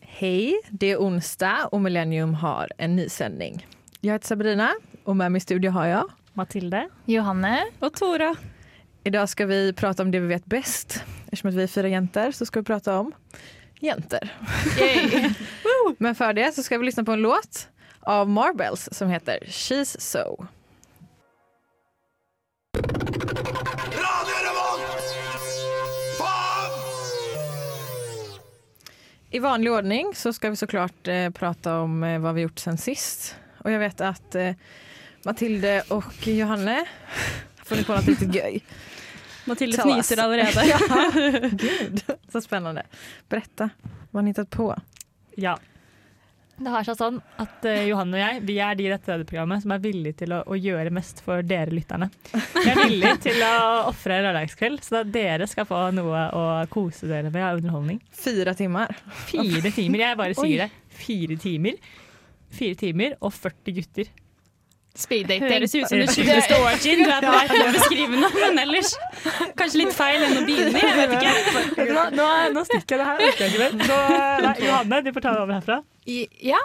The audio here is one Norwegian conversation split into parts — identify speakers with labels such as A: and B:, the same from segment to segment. A: Hej, det är onsdag och Millennium har en ny sändning. Jag heter Sabrina och med mig i studion har jag.
B: Mathilde.
C: Johanne.
B: Og Tora.
A: Idag ska vi prata om det vi vet bäst. Eftersom att vi är fyra jenter så ska vi prata om jenter. Men för det så ska vi lyssna på en låt av Marbles som heter She's So.
D: Radio Revolt! Faen!
A: I vanlig ordning så ska vi såklart eh, prata om eh, vad vi gjort sen sist. Och jag vet att eh, Matilde och Johanne har funnit på något riktigt göj.
B: Mathilde
A: Tell us.
B: fniser allerede.
A: Ja. Gud, så spännande. Berätta, vad har ni hittat på?
B: Ja.
C: Det har seg sånn.
B: At eh, Johanne og jeg vi er de i dette radioprogrammet som er villige til å, å gjøre mest for dere lytterne. Vi er villige til å ofre en lørdagskveld, så at dere skal få noe å kose dere med av underholdning.
A: Fyra timmar.
B: Fire timer, jeg bare
A: Oi.
B: sier det. Fire timer. Fire timer og 40 gutter.
C: Speeddate.
E: Høres ut som det 20. år siden. Du er på vei til å beskrive noe, men ellers kanskje litt feil enn å begynne. Jeg vet ikke.
B: Nå, nå, nå stikker jeg det her. orker jeg ikke mer. Nå, nei, Johanne, du får ta det over herfra.
C: I- Ja,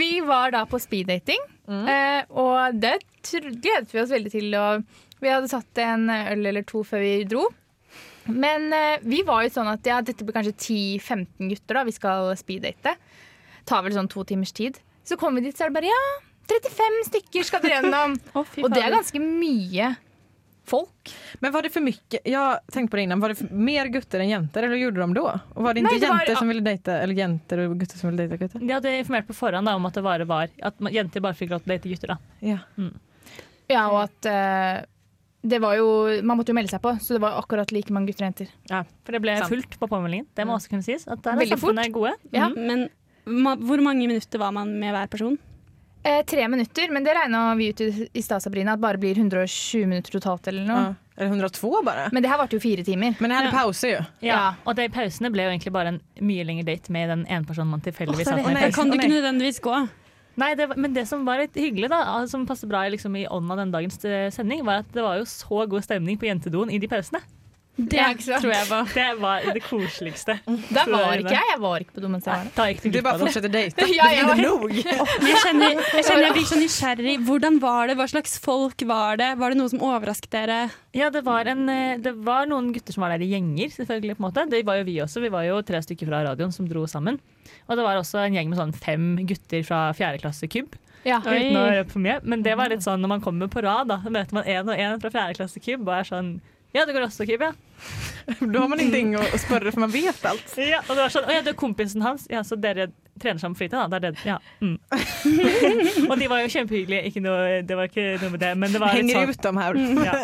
C: vi var da på speeddating,
E: Mm.
C: eh, og det tr- gledet vi oss veldig til. Og vi hadde satt en øl eller to før vi dro. Men eh, vi var jo sånn at ja, dette blir kanskje 10-15 gutter, da. Vi skal speeddate. Tar vel sånn to timers tid. Så kommer vi dit, så er det bare ja, 35 stykker skal dere gjennom. og det er ganske mye folk.
A: Men var det för mycket? Jag tänkte på det innan. Var det för, mer gutter än jenter eller hur gjorde de då? Och var det inte
C: Nej, det var-
A: jenter som ville dejta eller jenter och gutter som ville dejta gutter?
B: De hadde informert på forhånd da, om at det bare var at man- jenter bare fikk lov til å date gutter. da.
A: Ja.
C: Ja, og at eh, det var jo Man måtte jo melde seg på, så det var akkurat like mange gutter og jenter.
B: For det ble
A: Sant.
B: fullt på påmeldingen. Det må også kunne sies. At der er
C: Mm. Veldig fort.
B: samfunnet gode. Mm,
C: Ja.
E: Men ma hvor mange minutter var man med hver person?
C: Eh, tre minutter, men det regna vi ut i i stad, Sabrina, at bare blir 120 minutter totalt eller noe.
A: Ja. Eller 102 bara.
C: Men det her varte jo fire timer.
A: Men ni hade pauser ju.
B: Ja.
C: Ja.
B: Og det, pausene ble jo egentlig bare en mye lengre date med den ene personen man tilfeldigvis satt
A: Å,
B: med.
A: nei.
E: Da kan du
A: Å,
E: ikke nødvendigvis gå.
B: Nei, det var, men det som var litt hyggelig, da, altså, som passet bra i liksom, i ånden av den dagens eh, sending, var at det var jo så god stemning på jentedoen i de pausene.
E: Det
C: Ja, ikke sant?
E: tror jeg var
B: Det var det koseligste.
C: Der var ikke jeg. Jeg var ikke på do mens jeg var der.
B: Da gikk du
A: Du
B: glipp
A: bara
B: av det.
A: fortsätter dejta.
C: Ja, ja.
A: Det är nog.
E: Men jeg kjenner, jeg kjenner jeg blir så nysgjerrig. Hvordan var det? Hva slags folk var det? Var det noe som overrasket dere?
B: Ja, det var, en, eh, det var noen gutter som var der i gjenger, selvfølgelig. på en måte. Det var jo vi også. Vi var jo tre stykker fra radioen som dro sammen. Og det var også en gjeng med sånn fem gutter fra fjerde klasse kubb.
C: Ja.
B: Uten å røpe for mye. Men det var litt sånn når man kommer på rad, da. så Møter man én og én fra fjerde klasse kubb og er sånn Ja, det går også kubb, ja.
A: Då har man ingenting att att spurra för man vet allt.
B: ja. Og det var sånn Å ja, det er kompisen hans. Ja, så dere trener sammen på fritida, da? Det er det, ja. Mm. og de var jo kjempehyggelige. Ikke noe, det var ikke noe med det, men det var litt
A: Hänger
B: sånn
A: ut dem här.
B: Ja.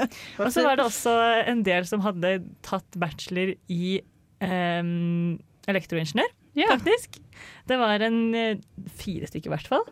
B: Og så var det også en del som hadde tatt bachelor i em, elektroingeniør, faktisk. Det var en eh, fire stykker i hvert fall.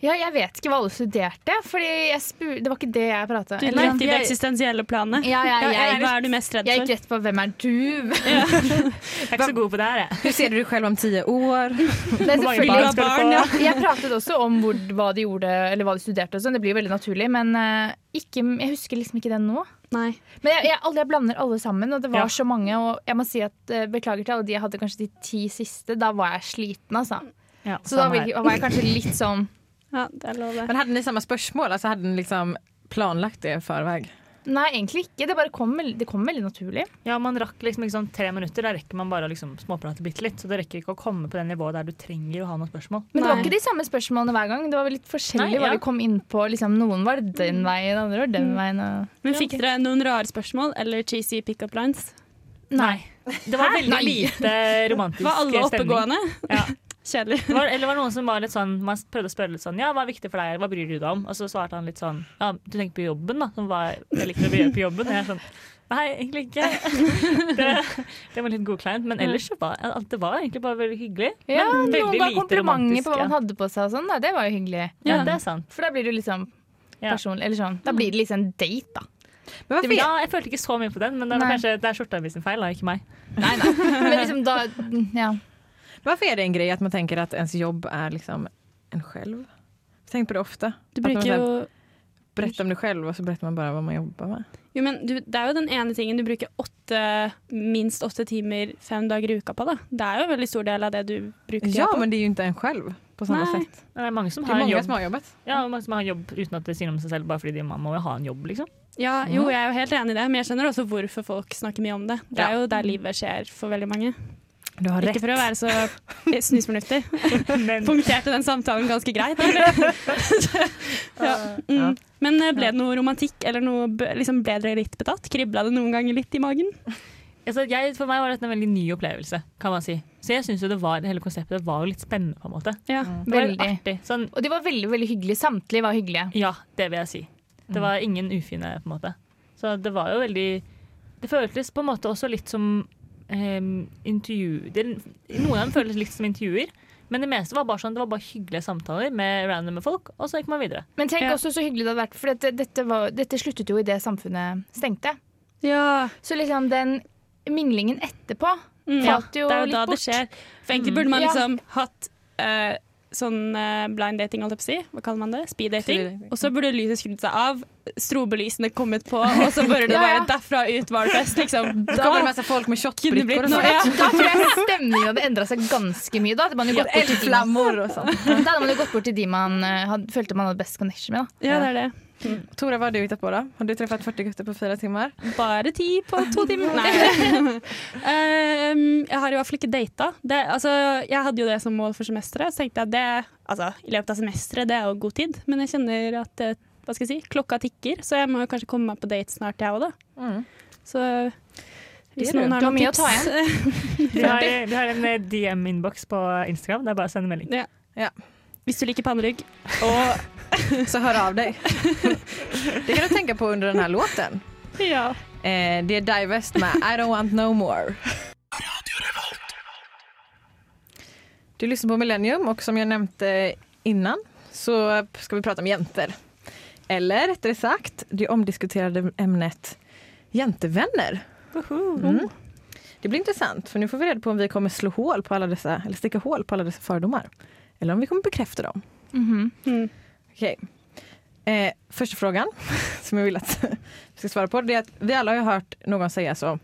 C: ja, jeg vet ikke hva alle studerte, Fordi jeg spu det var ikke det jeg prata
E: Du
C: om.
E: drepte i det
B: jeg-
E: eksistensielle planet.
C: Ja, ja,
E: Ja,
C: jeg,
E: hva er du mest redd
C: jeg gikk
E: for?
C: rett på 'Hvem er du?'
B: Jeg er ikke så god på det her, jeg.
A: Hur ser du dig själv om tio år?
C: Det er
B: Hvor mange barn
C: selvfølgelig
B: skal du få?
E: ja.
C: Jeg pratet også om hvor, hva de gjorde, eller hva de studerte og sånn. Det blir jo veldig naturlig, men eh, ikke, jeg husker liksom ikke den nå.
E: Nei.
C: Men jeg, jeg, alle, jeg blander alle sammen, og det var
B: Ja.
C: så mange. Og jeg må si at eh, Beklager til alle de jeg hadde kanskje de ti siste. Da var jeg sliten, altså.
B: Ja,
C: Så da
B: samme
C: vil-
B: her.
C: var jeg kanskje litt sånn
E: Ja, det er lov, det.
A: Men hade ni samma spörsmål? Alltså hade ni liksom planlagt det i förväg?
C: Nei, egentlig ikke. Det bare kom, veld- det kom veldig naturlig.
B: Ja, man rakk liksom ikke sånn tre minutter. Da rekker man bare å liksom småprate bitte litt. Så det rekker ikke å komme på det nivået der du trenger å ha noen spørsmål.
C: Men det var
E: Nei.
C: ikke de samme spørsmålene hver gang. Det var vel litt forskjellig
B: Nei, ja. Mm.
C: hva vi kom inn på. Liksom, noen var den veien, andre var den veien. Og...
E: Men fikk dere noen rare spørsmål eller cheesy pickup lines?
B: Nei. Det var veldig
C: Nei.
B: lite romantisk
E: Var alle
B: stemning.
E: oppegående?
B: Ja.
E: Kjedelig.
B: Det var, eller var det noen som var litt sånn Man prøvde å spørre litt sånn Ja, hva er viktig for deg? Hva bryr du deg om? Og så svarte han litt sånn Ja, du tenker på jobben, da. Som hva jeg liker å gjøre på jobben. Og jeg er sånn Nei, egentlig ikke. Det, det var litt godkleint. Men ellers så var alt det var egentlig bare veldig hyggelig.
C: Ja,
B: men
C: noen
B: veldig
C: ga
B: lite
C: komplimenter
B: romantisk,
C: på hva man
B: ja.
C: hadde på seg og sånn. da. Det var jo hyggelig.
B: Ja,
E: Ja.
B: det er sant.
C: For da blir det jo liksom
B: Ja. Mm.
C: personlig. Eller sånn. Da blir det liksom en date, da.
A: Men
B: Det,
A: varför
B: ja, jeg følte ikke så mye på den, men det var
C: Nei.
B: kanskje det er skjorta mi sin feil, da, ikke meg.
C: Nei, nei. Men liksom da Ja.
A: Varför är det en grej att man tänker att ens jobb är liksom en själv? Jag tänker på det ofta.
E: Du
A: At man så
E: bruker jo
A: här, berättar om dig själv och så berättar man bara vad man jobbar med.
E: Jo, men du, det er jo den ene tingen du bruker åtte åtte, minst åtte timer fem dager i uka på. Da. Det er jo en veldig stor del av det du bruker tida
A: Ja,
E: på.
A: men det är ju inte en själv på samma
E: Nej.
A: sätt.
B: Det er mange som
A: Det
B: har
A: är
B: en
A: många
B: jobb.
A: som har jobbat.
B: Ja, og mange som har en jobb uten at det sier noe om seg selv, bare fordi de man må jo ha en jobb, liksom.
E: Ja, jo, jeg er jo helt enig i det, men jeg skjønner også hvorfor folk snakker mye om det. Det er
B: Ja.
E: jo der livet skjer for veldig mange.
A: Du har
E: Ikke for å være så snusfornuftig.
B: Men
E: Punkterte den samtalen ganske greit. eller? ja.
B: Ja.
E: mm. Men eh, ble det noe romantikk, eller noe b- liksom ble dere litt betatt? Kribla det noen ganger litt i magen?
B: altså, jeg, for meg var dette en veldig ny opplevelse, kan man si. Så jeg syns jo det var, hele konseptet var jo litt spennende, på en måte.
E: Ja.
B: Det var
C: Veldig.
B: litt artig. Sånn,
C: Og de var veldig veldig hyggelige. Samtlige var hyggelige.
B: ja, det vil jeg si. Det var ingen ufine, på en måte. Så det var jo veldig Det føltes på en måte også litt som eh, intervju... Det, noen av dem føltes litt som intervjuer, men det meste var bare sånn, det var bare hyggelige samtaler med randomme folk, og så gikk man videre.
C: Men tenk
E: Ja.
C: også så hyggelig det hadde vært, for dette, dette, var, dette sluttet jo idet samfunnet stengte.
E: Ja.
C: Så liksom den minglingen etterpå
E: Mm.
C: falt jo
E: Det er jo
C: litt
E: da
C: bort. Mm.
E: det skjer. For egentlig burde man
C: Ja.
E: liksom hatt eh, sånn eh, blind dating, holdt jeg på å si. Hva kaller man det?
A: Speed
E: Speed dating.
A: dating.
E: Og så burde lyset skrudd seg av, strobelysene kommet på, og så burde det
C: Ja, ja.
E: bare derfra ut var det fest, liksom.
A: Da kommer det
E: Da
A: massa folk med
E: kunne det
A: shotbrickor
E: blitt
A: och
E: noe.
A: sånt.
E: Ja.
C: Da tror jeg stemningen hadde endra seg ganske mye. Da hadde man jo gått bort til de man,
A: Eldflammor och sånt.
C: da hadde man, jo gått bort til de man eh, hadde, følte man hadde best connection med. Da.
E: ja, det er det.
A: Tora, vad har du hittat på då? Har du träffat 40 gutter på fyra timmar?
E: Bare ti på to timer. Nei. Ehm, jeg har i hvert fall ikke data. Det, altså, jeg hadde jo det som mål for semesteret. Så tenkte jeg at det, altså, i løpet av semesteret, det er jo god tid. Men jeg kjenner at eh, hva skal jeg si, klokka tikker, så jeg må jo kanskje komme meg på date snart, jeg òg, da.
A: Mm.
E: Så eh,
A: Det
E: hvis
A: gjør
E: noen har
C: Du har
E: noen
C: mye å
E: tips
C: ta
B: Vi har, vi har en eh, DM-innboks på Instagram, det er bare å sende melding.
E: Hvis du liker pannerygg.
A: Så hör av dig. Det kan du tänka på under den här låten.
E: Ja.
A: Eh, det är Divest med I don't want no more. Du lyssnar på Millennium och som jag nämnde innan så ska vi prata om jäntor. Eller rättare sagt det omdiskuterade ämnet jantevänner. Mm. Det blir intressant för nu får vi reda på om vi kommer slå hål på alla dessa, eller sticka hål på alla dessa fördomar. Eller om vi kommer bekräfta dem.
C: Mhm.
E: Mm.
A: Okej. Eh, första frågan som jag vill att vi ska svara på det är att vi alla har ju hört någon säga så.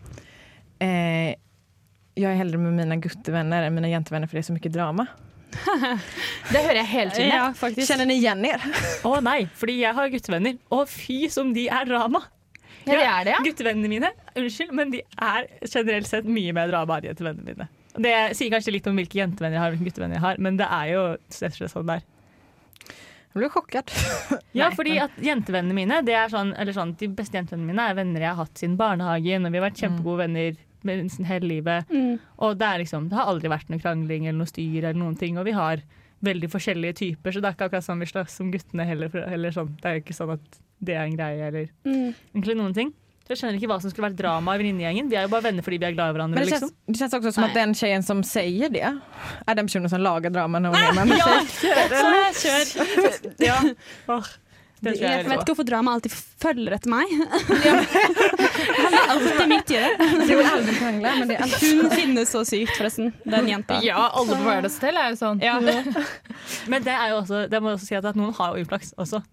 A: Eh, jag är hellre med mina guttevänner än mina jantevänner för det är så mycket drama.
C: Det hører jeg hele tiden.
E: ja, faktisk.
A: Känner ni igen er?
B: Å nei, fordi jeg har guttevenner. Å fy som de er drama!
C: Ja, det er det, ja.
B: Guttevennene mine, unnskyld, men de er generelt sett mye mer drama enn jentevennene mine. Det sier kanskje litt om hvilke jentevenner jeg har, og hvilke guttevenner jeg har, men det er jo rett og slett sånn der.
A: Jag blev chockad.
B: Ja, fordi at jentevennene mine, det er sånn, eller sånn, de beste jentevennene mine er venner jeg har hatt siden barnehagen, og vi har
C: Mm.
B: vært kjempegode venner med nesten hele livet.
E: Mm.
B: Og det, er liksom, det har aldri vært noe krangling eller noe styr eller noen ting, og vi har veldig forskjellige typer, så det er ikke akkurat sånn vi slåss som guttene heller. for- Eller sånn. Det er jo ikke sånn at det er en greie, eller
E: Mm.
B: egentlig noen ting. Så jeg skjønner ikke hva som skulle vært drama i venninnegjengen. Vi er jo bare venner fordi vi er glad i hverandre,
A: Men det
B: liksom.
A: känns, det känns också som att den tjejen som säger det är den personen som lagar drama när hon är med
E: Ja,
A: Ah, ja.
E: så jeg kjør.
B: Ja. liksom. Åh, det
A: Det
B: tror jeg
E: Jeg vet
B: er
E: ikke hvorfor drama alltid følger etter meg. Han er alltid midt i det.
A: Du vill aldrig krångla men det är alltid
E: Hun finnes så sykt, forresten. Den jenta.
C: Ja, alle på hverdagshotell er jo sånn.
E: Ja.
B: Men det er jo også, det må jeg også si at, at noen har jo uflaks også.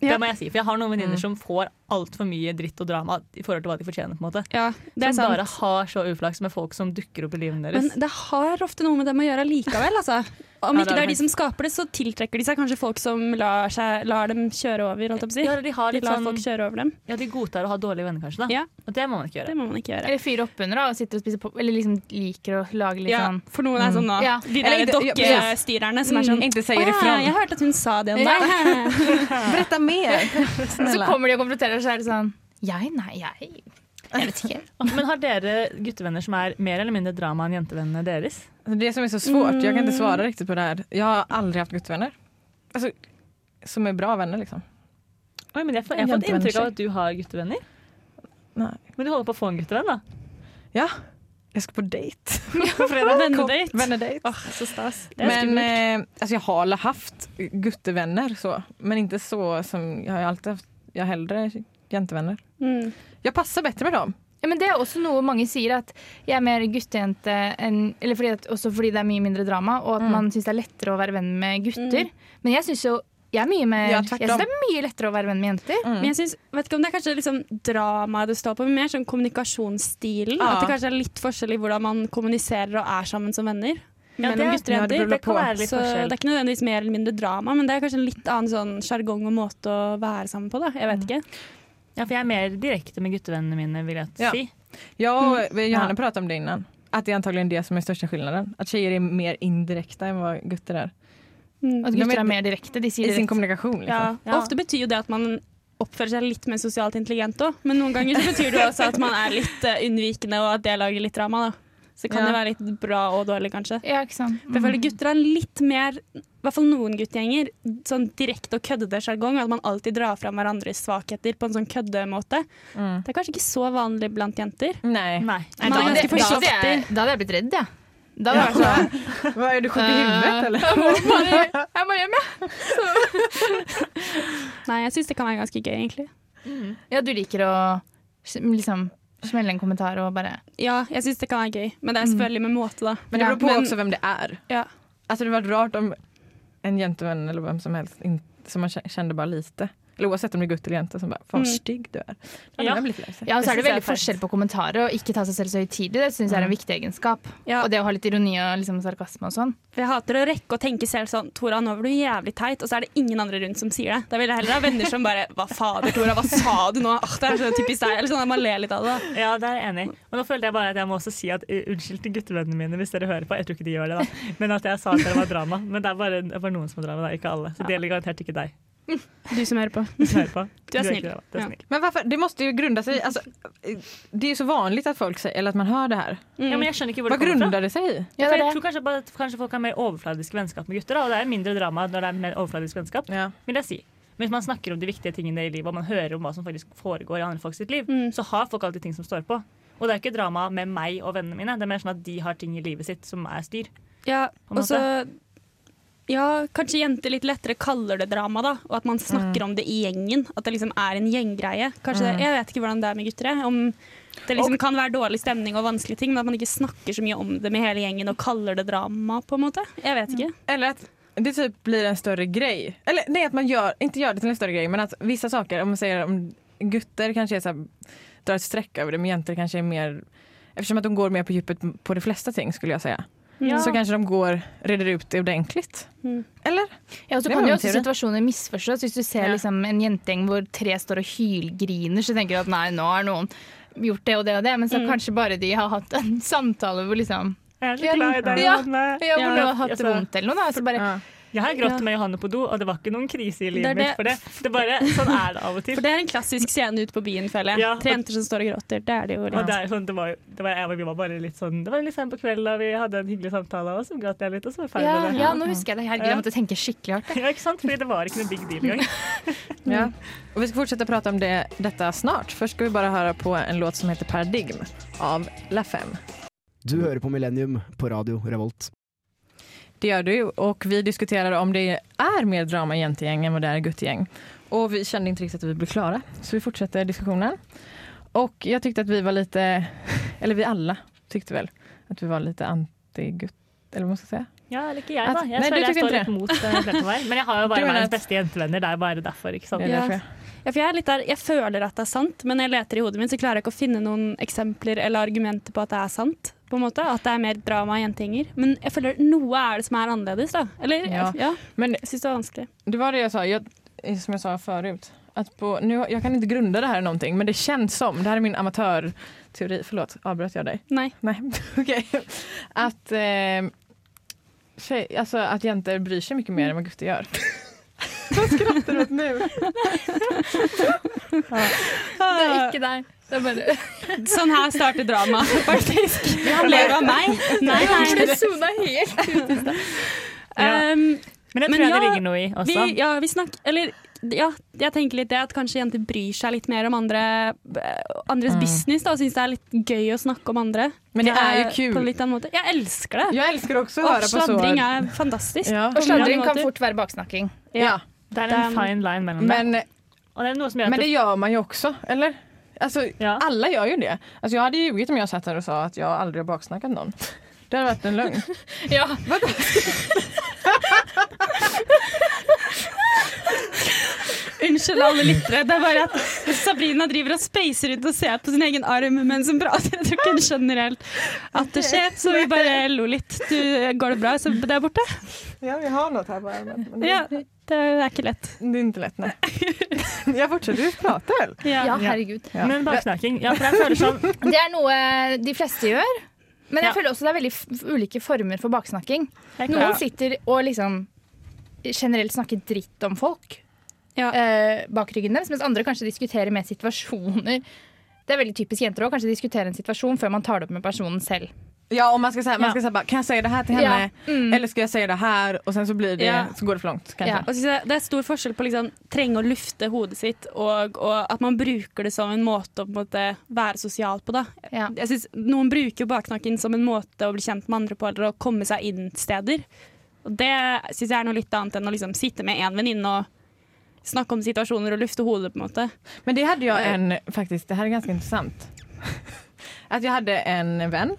E: Ja. Mm.
B: Det må jeg si, for jeg har noen venninner som får altfor mye dritt og drama i forhold til hva de fortjener. på en måte.
E: Ja, det er
B: som
E: sant.
B: bare har så uflaks med folk som dukker opp i livet deres.
E: Men det har ofte noe med dem å gjøre likevel, altså. Om
B: Ja,
E: ikke
B: det
E: det
B: er
E: er de
B: det.
E: som skaper det, så tiltrekker de seg kanskje folk som lar, seg, lar dem kjøre over, holdt jeg på å si.
B: ja, de, har
E: De
B: litt
E: lar
B: sånn,
E: folk kjøre over dem.
B: ja, de godtar å ha dårlige venner, kanskje. da.
E: Ja.
B: Og det må man ikke gjøre.
E: Det må man ikke gjøre.
C: Eller fyre oppunder da, og sitte og spise pop Eller liksom liker å lage litt
E: Ja,
C: sånn
E: for noen er sånn nå.
C: Ja.
E: De
A: Eller
E: der
A: ikke- ja, precis. Mm.
E: dokkestyrerne som er sånn
A: inte
E: «Å
A: säger
E: ja, jeg
A: ifrån.
E: hørte at hun sa det om
C: Ja.
E: deg.
A: Ah, Berätta mer.
C: Så
A: Snälla.
C: kommer de og konfronterer, og så er det sånn Jeg? Nei, jeg Jeg vet ikke.
B: Men har dere guttevenner som er mer eller mindre drama enn jentevennene deres?
A: Alltså, Det som är så svårt, jag kan inte svara
E: Mm.
A: riktigt på det här. Jag har aldrig haft guttevänner. Alltså, Altså, som är bra vänner liksom.
B: Oi, men jeg, får, jeg har fått
A: Jentevenner
B: inntrykk av at du har guttevenner.
A: Nei.
B: Men du holder på å få en guttevenn, da.
A: Ja, jag ska på dejt.
E: På fredag vennedate.
A: Vennedate.
E: Åh, så stas. Det er
A: Men
E: skummelt.
A: eh, alltså jag har alla haft guttevänner så, men inte så som jag har alltid haft. Jag har hellre jentevänner.
E: Mm.
A: Jag passar bättre med dem.
C: Ja, men det er også noe mange sier, at jeg er mer guttejente enn Eller Mm. fordi at, også fordi det er mye mindre drama, og at man syns det er lettere å være venn med gutter. Men jeg syns jo Jeg er mye mer
A: Ja,
C: Jeg
A: tvert
C: synes
A: om.
C: det er mye lettere å være venn med jenter.
A: Mm.
E: Men jeg synes, vet ikke om det er kanskje liksom dramaet det står på, men mer sånn kommunikasjonsstilen.
A: Ja.
E: At det kanskje er litt forskjell i hvordan man kommuniserer og er sammen som venner.
B: Ja,
E: mellom
B: det-
E: gutter og
A: ja, det
E: jenter.
A: beror på.
B: kan være litt
E: så
B: forskjell.
E: det er ikke nødvendigvis mer eller mindre drama, men det er kanskje en litt annen sånn sjargong og måte å være sammen på, da. Jeg vet ikke.
B: Ja, for jeg er mer direkte med guttevennene mine, vil jeg
A: Ja.
B: si.
A: Jag och
E: Mm.
A: Johanna
B: Ja.
A: pratade om det innan. Att det är antagligen det som är största skillnaden. Att tjejer är mer indirekta än vad gutter är.
E: Mm.
C: At
A: Ja, men-
C: gutter er mer direkte. De
A: I
C: sier
A: sin
C: direkte.
A: kommunikation. Liksom.
E: Ja.
B: Ja.
E: Ofte betyr jo det at man oppfører seg litt mer sosialt intelligent òg, men noen ganger så betyr det jo også at man er litt eh, unnvikende, og at det lager litt drama, da. Så kan
A: Ja.
E: det være litt bra og dårlig, kanskje.
C: Ja, ikke sant. Mm.
E: For jeg føler gutter er litt mer, i hvert fall noen guttegjenger, sånn direkte og køddete sjargong. At man alltid drar fram hverandres svakheter på en sånn køddemåte.
A: Mm.
E: Det er kanskje ikke så vanlig blant jenter.
A: Nej.
B: Nei.
E: Nei, da-
C: Da
E: ganske
C: hadde jeg- da hadde jeg- da hadde jeg blitt redd, jeg. Da hadde jeg vært sånn
A: Vad är du sjuk i
E: Eh.
A: huvudet eller?
C: Jeg må bare- jeg må hjem, jeg.
E: Nei, jeg syns det kan være ganske gøy, egentlig.
C: Ja, du liker å liksom smelle en kommentar og bare
E: Ja, jeg syns det kan være gøy, men det er selvfølgelig med måte, da.
A: Men det
C: Ja,
A: beror på
E: men-
A: också vem det är.
E: Ja.
A: Alltså det var rart om en jentevän eller vem som helst in, som man kä- kände bara lite. Eller oavsett om det är gutt eller jente som bara, fan vad
E: Mm.
A: stygg du är.
B: Ja.
A: Ja. Ja.
C: Ja, og så er
B: Det
C: det
B: synes jeg
C: veldig
B: er fett.
C: forskjell på kommentarer og ikke ta seg selv så høytidelig. Det syns jeg er en viktig egenskap.
E: Ja.
C: Og det å ha litt ironi og liksom sarkasme og sånn.
E: For jeg hater å rekke å tenke selv sånn Tora, nå var du jævlig teit, og så er det ingen andre rundt som sier det. Da vil jeg heller ha venner som bare Hva fader, Tora, hva sa du nå? Åh, det er så typisk deg. Eller sånn at man ler litt av det. da.
B: Ja, det er jeg enig i. Men nå følte jeg bare at jeg må også si at uh, unnskyld til guttevennene mine hvis dere hører på. Jeg tror ikke de gjør det, da. Men at jeg sa at det var drama. Men det er bare, det er bare noen som har drama, da. Ikke alle. Så det gjelder garantert ikke deg.
E: Du som hører på.
B: Du, hører på.
E: Du er
B: ikke
E: snill.
B: drama. Du er
E: Ja.
B: snill.
A: Men varför, det måste ju grunda sig i- alltså, det är ju så vanligt att folk säger, eller att man hör det här.
E: Mm.
B: Ja, men jeg skjønner ikke hvor
A: Vad
B: det kommer fra.
A: grundar det sig i?
C: Ja,
B: For
C: det
B: jeg
C: er det.
B: tror kanskje, bare at kanskje folk har mer overfladisk vennskap med gutter. Da, og det er mindre drama når det er mer overfladisk vennskap,
A: Ja.
B: vil jeg si. Men hvis man snakker om de viktige tingene i livet, og man hører om hva som faktisk foregår i andre folk sitt liv,
E: Mm.
B: så har folk alltid ting som står på. Og det er ikke drama med meg og vennene mine, det er mer sånn at de har ting i livet sitt som er styr.
E: Ja,
B: på en
E: og så ja, kanskje jenter litt lettere kaller det drama, da. Og at man
B: Mm.
E: snakker om det i gjengen. At det liksom er en gjenggreie. Kanskje det, Jeg vet ikke hvordan det er med gutter. jeg. Om det liksom kan være dårlig stemning og vanskelige ting, men at man ikke snakker så mye om det med hele gjengen og kaller det drama, på en måte. Jeg
B: Mm.
E: vet ikke.
A: Eller att det typ blir en större grej. Eller nej, att man gör, inte gör det till en större grej, men att vissa saker, om man säger om gutter kanske är så här, drar ett streck över det, men jenter kanske är mer Eftersom att de går mer på djupet på de flesta ting skulle jag säga.
E: Ja.
A: Så kanske de går, reder ut det ordentligt.
E: Mm.
A: Eller?
C: Ja, og så
A: Det
C: kan
A: var
C: jo
A: en
C: også
A: teori.
C: situasjoner misforstås. Hvis du ser
A: Ja.
C: liksom, en jentegjeng hvor tre står og hylgriner, så tenker du at nei, nå har noen gjort det og det og det, men så kanskje bare de har hatt en samtale hvor liksom
B: Jeg er
C: Ja,
B: så glad i deg, Altså,
C: ja.
B: Johanne.
C: Ja, hvor du har
B: jeg
C: hatt det
B: så-
C: vondt eller noe, da. og Så bare,
A: Ja.
B: Jeg har grått
E: Ja.
B: med Johanne på do, og det var ikke noen krise i
E: Det
B: livet
E: er
B: mitt for det. Det er bare, Sånn er det av og til.
E: For det er en klassisk scene ute på byen, føler jeg.
B: Ja.
E: Tre jenter som står og gråter. Det er det jo.
B: Og
E: Litt.
B: det, er sånn, det var, jo- det var, jeg, vi var bare litt sånn Det var litt sent på kvelden, og vi hadde en hyggelig samtale, og så gråt jeg litt, og så var vi ferdig
C: ja,
B: med det.
C: ja, nå husker jeg det. Herregud, jeg måtte tenke skikkelig hardt. jeg.
B: Ja, ikke sant? Fordi det var ikke noe big deal engang.
A: Ja. Och vi ska fortsätta prata om det, detta snart. Först ska vi bara höra på en låt som heter Paradigm av La Femme.
F: Du hører på Millennium på Radio Revolt.
A: Det gör du och vi diskuterar om det är mer drama i jentegäng än vad det är i guttegäng. Och vi kände inte riktigt att vi blev klara så vi fortsätter diskussionen. Och jag tyckte att vi var lite, eller vi alla tyckte väl att vi var lite anti-gutt, eller vad man ska säga.
B: Ja, eller ikke jeg, da. Jeg
A: Nei, du
B: føler jeg
A: tykker
B: står
A: ikke
B: litt mot eh, flertallet her. Men jeg har
A: Du
B: jo bare
A: mener
B: verdens
A: at-
B: beste jentevenner. Det er bare derfor, ikke sant.
A: Det er
E: Ja.
A: därför jag-
E: Ja, for jeg, er litt der, jeg føler at det er sant, men når jeg leter i hodet mitt, så klarer jeg ikke å finne noen eksempler eller argumenter på at det er sant. På en måte, At det er mer drama og jentegjenger. Men jeg føler noe er det som er annerledes, da. Eller, ja.
A: Ja. Men
E: jeg syns det var vanskelig.
A: det var det jag sa, jag, som jag sa förut. Att på, nu, jag kan inte grunda det här i någonting men det känns som, det här är min amatörteori, förlåt avbröt jag dig?
E: Nei.
A: Nej, okej. Att, eh, tjej, alltså, att jenter bryr sig mycket mer än vad gutter gör. Vad skrattar du åt nu?
C: Det er ikke deg. Det er bare
E: Sånn her starter drama, faktisk. Han ler av meg. Nei, nei.
C: Du sona helt.
B: Ja.
E: Um,
B: Men det
E: Men
B: tror jeg det
E: ja,
B: ligger noe i
E: vi,
A: Altså.
B: også.
E: ja, vi snakk... Eller ja, jeg tenker litt det at kanskje jenter bryr seg litt mer om andre, eh, andres business da, og syns det er litt gøy å snakke om andre.
A: Mm. Men det er jo
E: Eh,
A: kul.
E: På litt annen måte. Jeg elsker det.
A: Jag älskar också att höra på
E: Og
A: så.
E: sladring er fantastisk.
A: Ja.
E: På
C: Og sladring
E: mange
C: kan
E: måter.
C: fort være baksnakking.
A: Ja,
B: Det er en fine line mellom det.
A: men,
B: Og det er noe som gjør
A: men
B: at
A: det
B: det,
A: gör man ju också, eller? Alltså,
B: Ja.
A: Alla gör ju det. Alltså, jag hade ljugit om jag satt här och sa att jag aldrig har baksnackat någon. Det hade varit en lögn.
C: Ja,
E: Unnskyld alle lyttere. Det er bare at Sabrina driver og spacer ut og ser på sin egen arm mens hun prater. Jeg tror ikke hun skjønner helt at det skjer, så vi bare lo litt. Du, går det bra så der borte?
A: Ja, vi har noe her på armen. Men det,
E: Ja, det er ikke lett.
A: det är inte lätt, nej. Jag fortsätter att prata väl?
C: Ja, herregud.
A: Ja.
B: Men baksnaking. Ja, for jeg føler sånn
C: Det er noe de fleste gjør. Men jeg
B: Ja.
C: føler også det er veldig f ulike former for baksnakking.
B: Helt
C: Noen
B: klart.
C: sitter og liksom generelt snakker dritt om folk
E: Ja.
C: eh, bak ryggen deres, mens andre kanskje diskuterer mer situasjoner. Det er veldig typisk jenter òg, kanskje diskutere en situasjon før man tar det opp med personen selv.
A: Ja, om man ska säga, man
B: Ja.
A: ska säga bara, kan jag säga det här till henne?
C: Mm.
A: Eller ska jag säga det här? Og sen så, blir det,
E: Ja.
A: så går det för långt kanske.
C: Ja.
E: Og så synes jeg det er stor forskjell på liksom, trenge å lufte hodet sitt, og, og at man bruker det som en måte å på en måte, være sosial på. Da.
C: Ja.
E: Jeg synes, Noen bruker jo baksnakken som en måte å bli kjent med andre på, eller å komme seg inn steder. Og Det syns jeg er noe litt annet enn å liksom, sitte med én venninne og snakke om situasjoner og lufte hodet. på en måte.
A: Men det hade jag en, faktiskt, det här är ganska intressant. Att jag hade en vän,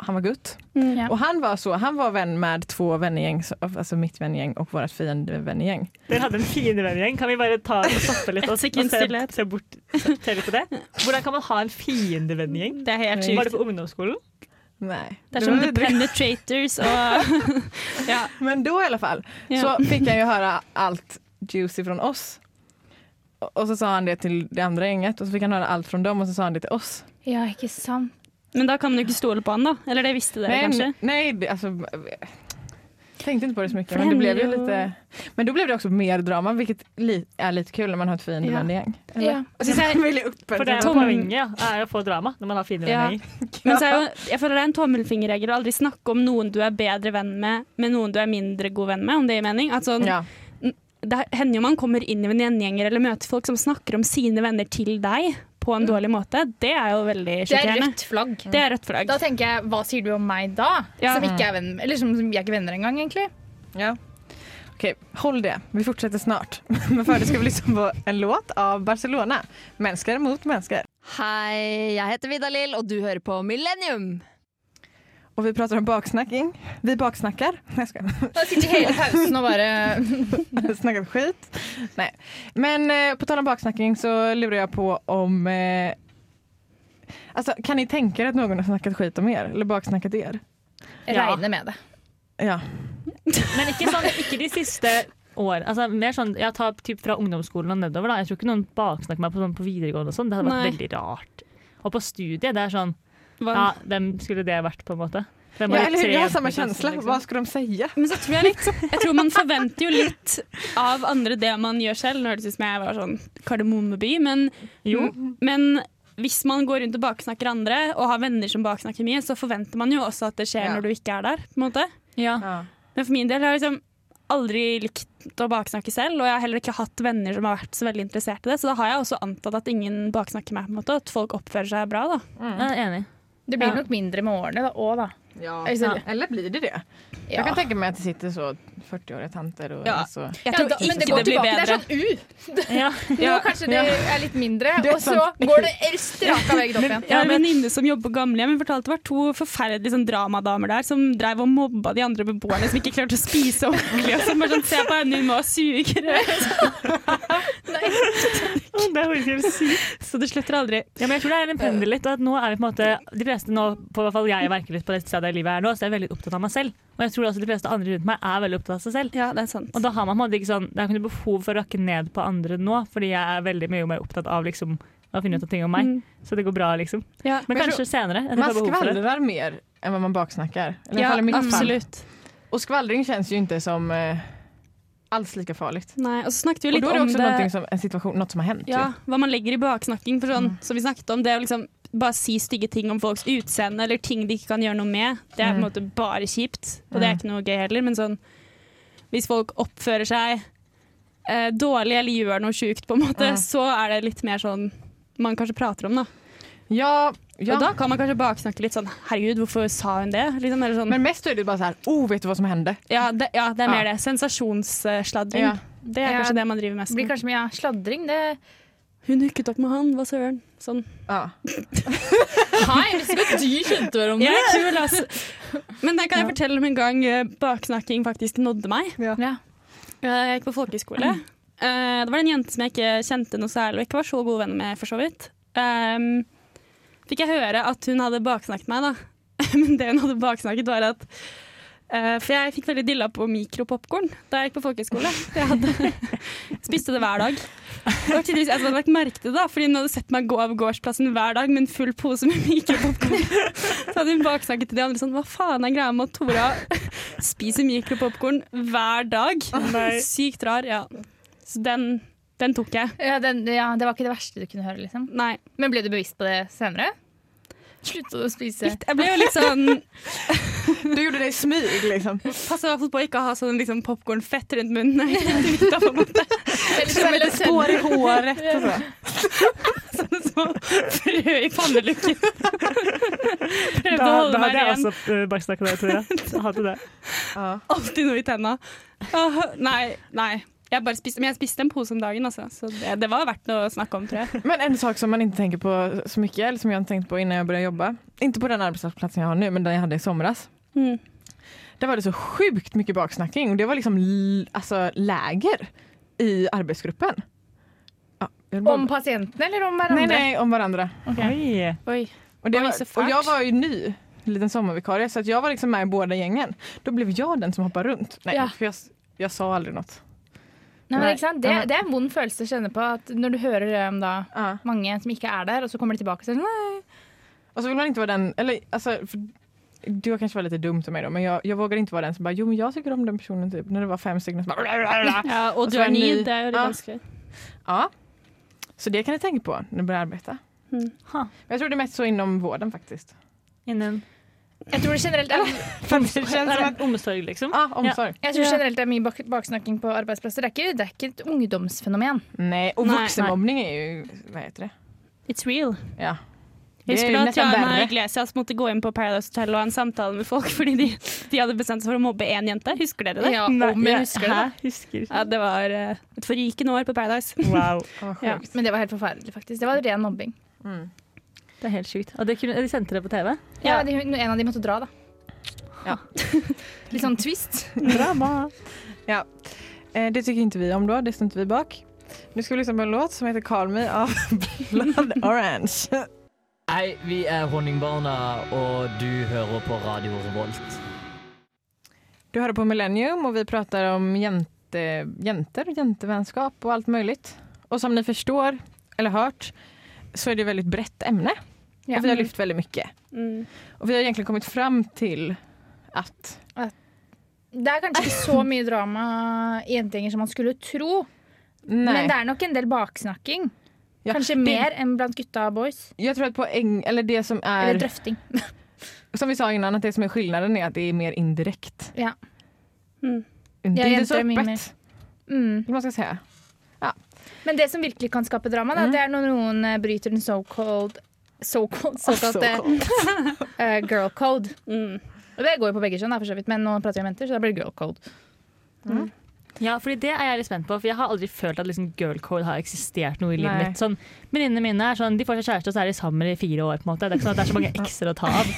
A: han var gutt.
C: Ja.
A: Och han var så, han var vän med två vännegäng, så- alltså mitt vännegäng och vårt fiendevännegäng.
B: Dere hadde en fiendevenngjeng. Kan vi bare ta og stoppe litt og,
E: Et sekund
B: og se,
E: stillhet.
B: se bort se, se litt på det? Hvordan kan man ha en fiendevenngjeng?
E: Det er helt
B: Var det
E: sjukt.
B: på ungdomsskolen?
A: Nej.
E: Det er som
A: Men-
E: The Penetrators og ja.
A: Men då i alla fall
E: Ja.
A: så fick han ju höra allt juicy från oss. Och- Och så sa han det till det andra gänget och så fick han höra allt från dem och så sa han det till oss.
C: ja, ikke sant.
E: Men da kan man jo ikke stole på han, da. Eller det visste dere
A: Men-
E: kanskje.
A: nej, det, alltså, tänkte inte på det så mycket men det blev ju
E: Främjo.
A: lite Men då blev det också mer drama vilket li, är lite kul när man har ett fiendevänliggäng.
C: Ja.
E: Og synes jeg,
A: Väldigt öppen.
B: For det er jo
E: Tom-
B: poenget ja, er å få drama når man har fiendevenngjeng.
E: Men så er jo, jeg føler det er en tommelfingerregel å aldri snakke om noen du er bedre venn med, med noen du er mindre god venn med, om det gir mening. At sånn,
A: Ja.
E: Det hender jo man kommer inn i vennegjenger eller møter folk som snakker om sine venner til deg på en dårlig måte. Det er jo veldig
C: Det er
E: sjokkerende.
C: rødt flagg.
E: Det er rødt flagg.
C: Da tenker jeg, hva sier du om meg da?
E: Ja.
C: Som ikke er venn, eller som, som vi er ikke venner engang, egentlig.
A: ja. Okej, håll det. Vi fortsätter snart. Men först ska vi lyssna på en låt av Barcelona. Mänskare mot mänskare.
G: Hei, jeg heter Vidalil, og du hører på Millennium.
A: Och vi pratar om baksnacking. Vi baksnackar. Nej, jag skojar.
C: Da sitter hele pausen og bare
A: snackat skit. Nej. Men eh, på tal om baksnacking så lurar jag på om... Eh, alltså, kan ni tänka er att någon har snackat skit om er? Eller baksnackat er?
B: Ja.
C: regner med det.
A: Ja.
B: Men ikke, sånn, ikke de siste år. Altså, mer sånn, jeg tar typ fra ungdomsskolen og nedover. Da. Jeg tror ikke noen baksnakker meg på, sånn, på videregående. Og sånn. det hadde vært
E: Nei.
B: veldig rart. Og på studiet, det er sånn
E: Hva-
B: Ja, hvem skulle det vært, på en måte? Hvem
A: Ja,
B: var de
A: eller hur?
B: tre
A: Jag har
B: jentene
A: samma
B: i klassen,
A: känsla.
B: liksom?
A: Vad ska de säga?
E: Men så tror jeg litt Jeg tror man forventer jo litt av andre det man gjør selv. Nå høres det ut som jeg var sånn kardemommeby, men,
B: Jo.
E: men hvis man går rundt og baksnakker andre, og har venner som baksnakker mye, så forventer man jo også at det skjer
A: Ja.
E: når du ikke er der. på en måte.
A: Ja.
E: Men for min del har jeg liksom aldri likt å baksnakke selv, og jeg har heller ikke hatt venner som har vært så veldig interessert i det, så da har jeg også antatt at ingen baksnakker meg, på en måte, og at folk oppfører seg bra. da.
B: Jeg er enig.
C: Det blir nok mindre med årene da, òg, da. Altså,
B: Ja.
A: Eller blir det det?
C: ja.
A: Jag kan tänka mig att det sitter så 40-åriga tanter och
E: Ja.
A: så.
C: Ja,
E: Jeg tror
C: da,
E: ikke
C: men det
E: det,
C: går
E: blir
C: tilbake. Det er
E: bedre.
C: sånn U.
B: Ja.
C: Nå kanskje det er litt mindre,
A: Det er
C: og så
A: sant.
C: går det straka veien opp igjen.
E: Jeg har en venninne som jobber på gamlehjem. Hun fortalte det var to forferdelige sånn, dramadamer der som drev og mobba de andre beboerne som ikke klarte å spise ordentlig. Og som bare sånn, se på henne, hun må ha sugerør.
B: Det er virkelig sykt.
E: Så det slutter aldri.
B: Ja, men jeg tror det er en pendel litt. Og at nå er vi på en måte, de fleste nå, på hvert fall jeg merker litt på det stedet i livet jeg er nå, så jeg er veldig opptatt av meg selv. Og jeg tror også de fleste andre rundt meg er veldig opptatt av seg selv.
E: Ja, det er sant.
B: Og da har man på en måte ikke sånn, det er ikke noe behov for å rakke ned på andre nå, fordi jeg er veldig mye mer opptatt av liksom, å finne ut av ting om meg.
E: Mm.
B: Så det går bra, liksom.
E: Ja.
B: Men
A: Men
B: kanskje senere. at jeg
A: Man
B: får behov for det.
A: skvallrar mer än vad man baksnackar. Eller i alla
E: Ja,
A: fall i mitt fall.
E: absolutt.
A: Och skvallring känns ju inte som eh, alls lika farligt.
E: Nei, og så snakket vi
A: Och
E: litt
A: då är det
E: om
A: också
E: det
A: någonting som, en situation, något som har hänt.
E: ja, hva man legger i baksnakking. For
A: Mm.
E: sånn, Som vi snakket om, det å liksom bare si stygge ting om folks utseende eller ting de ikke kan gjøre noe med, det er på en
A: Mm.
E: måte bare kjipt. Og det er ikke noe gøy heller, men sånn hvis folk oppfører seg eh, dårlig eller gjør noe sjukt, på en
A: Mm.
E: måte, så er det litt mer sånn man kanskje prater om, da.
A: ju. Ja, ja.
E: Og da kan man kanske baksnakke litt sånn 'herregud, hvorfor sa hun det?' Liksom, eller sånn.
A: Men mest är det bara så här, oh vet du vad som hände?
E: ja, det, ja, det er mer
A: Ja.
E: det. Sensasjonssladring.
A: Ja.
E: Det er
C: Ja.
E: kanskje det man driver mest
C: Det blir
E: med.
C: kanskje mye ja, sladring. Det
E: Hun hooket opp med han, hva søren. Sånn.
A: Ja.
C: Hei, hvis ikke du kjente hverandre!
E: Jeg er kul, altså. Men der kan jeg fortelle om en gang eh, baksnakking faktisk nådde meg.
C: Ja.
E: Eh, Jeg gikk på folkehøyskole, Eh, det var en jente som jeg ikke kjente noe særlig, og ikke var så god venn med, for så vidt. Ehm, fikk jeg høre at hun hadde baksnakket meg, da. Men det hun hadde baksnakket, var at eh, For jeg fikk veldig dilla på mikropopkorn da jeg gikk på folkehøyskole. Jeg hadde, spiste det hver dag. Det var tidligvis jeg som hadde lagt merke til det, da, fordi hun hadde sett meg gå av gårdsplassen hver dag med en full pose med mikropopkorn. Så hadde hun baksnakket til de andre sånn Hva faen er greia med at Tora spiser mikropopkorn hver dag? Sykt rar, ja. Så den, den tok jeg.
C: Ja, den, ja, det var ikke det verste du kunne høre, liksom.
E: Nei.
C: Men ble du bevisst på det senere? Slutt å spise.
E: Litt, jeg ble jo litt sånn
A: Du gjorde det i smyg, liksom.
E: Pass i hvert fall på å ikke ha sånn liksom, popkornfett rundt munnen. Nei, rundt vidda, på en måte.
C: Eller så mellom
A: Hår i
C: tennene.
A: håret og så.
E: Sånne små Sånn frø i panneluggen. Prøvde
B: Da,
E: å holde
B: da
E: meg
B: hadde jeg
E: ren.
B: også uh, baksnakka deg, tror jeg. jeg. Hadde det.
E: Alltid noe i tenna. Åh, nei, nei. Jeg bare spiste, men jeg spiste en pose om dagen, altså. Så det, det var verdt noe å snakke om, tror jeg.
A: Men en sak som man inte tänker på så mycket, eller som jag inte tänkt på innan jag började jobba. Inte på den arbetsplatsen jag har nu, men den jag hade i somras.
E: Mm.
A: Där var det så sjukt mycket baksnackning och det var liksom l- alltså, läger i arbetsgruppen. Ja, jag vill bara-
C: sånn Om pasienten eller om
A: nej,
C: hverandre?
A: nej, om varandra.
B: Oi.
E: Oi.
A: Och, det
E: Oj,
A: var,
E: så fart.
A: och jag var ju ny, en liten sommarvikarie, så att jag var liksom med i båda gängen. Då blev jag den som hoppade runt. Nej,
E: Ja.
A: för jeg jag sa aldrig något.
C: Nei, men,
A: Nei.
C: ikke sant? Det, det er en vond følelse å kjenne på at når du hører det om da
A: Ja.
C: mange som ikke er der, og så kommer de tilbake og sier sånn, nei.
A: Och så vill man inte vara den, eller alltså, för, det var kanske var lite dumt av mig då, men jag, jag vågade inte vara den som bara, jo men jag tycker om den personen typ, när det var fem stycken som bara,
E: Ja, og
A: så
E: du
A: er
E: er ny,
A: ny.
E: det er jo litt
A: Ja.
E: vanskelig.
A: ja. Så det kan ni tänka på när ni börjar arbeta.
E: Mm.
B: Ha.
A: Men jag tror det är mest så inom vården faktiskt.
B: Innen
C: Jeg tror det generelt er,
A: det
B: Det
A: känns
B: er
A: som
B: en omsorg, liksom.
A: ja, Ah, omsorg.
C: jeg tror generelt det er mye bak baksnakking på arbeidsplasser. Det er ikke, det er ikke et ungdomsfenomen.
A: Nej, och
E: Nej.
A: vuxenmobbning är ju, vad heter det?
E: It's real.
A: Ja. Det är
E: Jeg husker
A: ju
E: da at
A: nästan
E: Jana
A: värre.
E: Iglesias måtte gå inn på Paradise Hotel og ha en samtale med folk fordi de, de hadde bestemt seg for å mobbe én jente. Husker dere det?
C: Ja,
B: Nei,
C: om jeg
B: jeg-
C: husker det.
B: Hæ? Husker ikke.
E: Ja, det var eh, et forrykende år på Paradise.
B: Wow.
A: Ja, sjukt.
E: Ja.
C: Men det var helt forferdelig, faktisk. Det var ren mobbing.
A: Mm.
B: Det er helt sjukt. Og det kunne, de sendte det på TV?
C: Ja, de, En av de måtte dra, da.
A: Ja.
C: Litt sånn twist.
B: Drama.
A: Eh, det tycker inte vi om då, det står inte vi bak. Nu ska vi lyssna på en låt som heter Call Me av Blood Orange.
H: Hei, vi er Honningbarna, og du hører på Radio Revolt.
A: Du hører på Millennium, og vi prater om jente, jenter, jentevennskap og alt mulig. Og som dere forstår, eller hørt, så er det et veldig bredt emne.
C: Ja.
A: Og vi har lyft veldig mye.
E: Mm.
A: Og vi har egentlig kommet fram til at
C: Det er kanskje ikke så mye drama i jentegjenger som man skulle tro,
A: Nei.
C: men det er nok en del baksnakking.
A: Ja,
C: Kanskje
A: det-
C: mer enn blant gutta og boys.
A: Jeg tror at poeng, eller det som
C: Eller
A: er
C: drøfting.
A: Som vi sa innan, at det som er forskjellen, er at det er mer indirekte.
C: Ja.
E: Mm.
A: Det
C: Ja,
A: er ikke så
C: jenter er mye
A: åpent,
C: Mm.
A: hva skal jeg si.
C: Men det som virkelig kan skape drama,
A: Mm.
C: da, det er når noen eh, bryter den so-called so-called såkalte eh, girl code.
E: Mm.
C: Og det går jo på begge kjønn, da, for så vidt, men nå prater vi om jenter, så da blir det girl code.
B: Ja, fordi det er jeg litt spent på, for jeg har aldri følt at liksom girl code har eksistert noe i livet
A: Nei.
B: mitt. Sånn, Venninnene mine er sånn, de får seg kjæreste, og så er de sammen i fire år. på en måte. Det er ikke sånn at det er så mange ekser å ta av.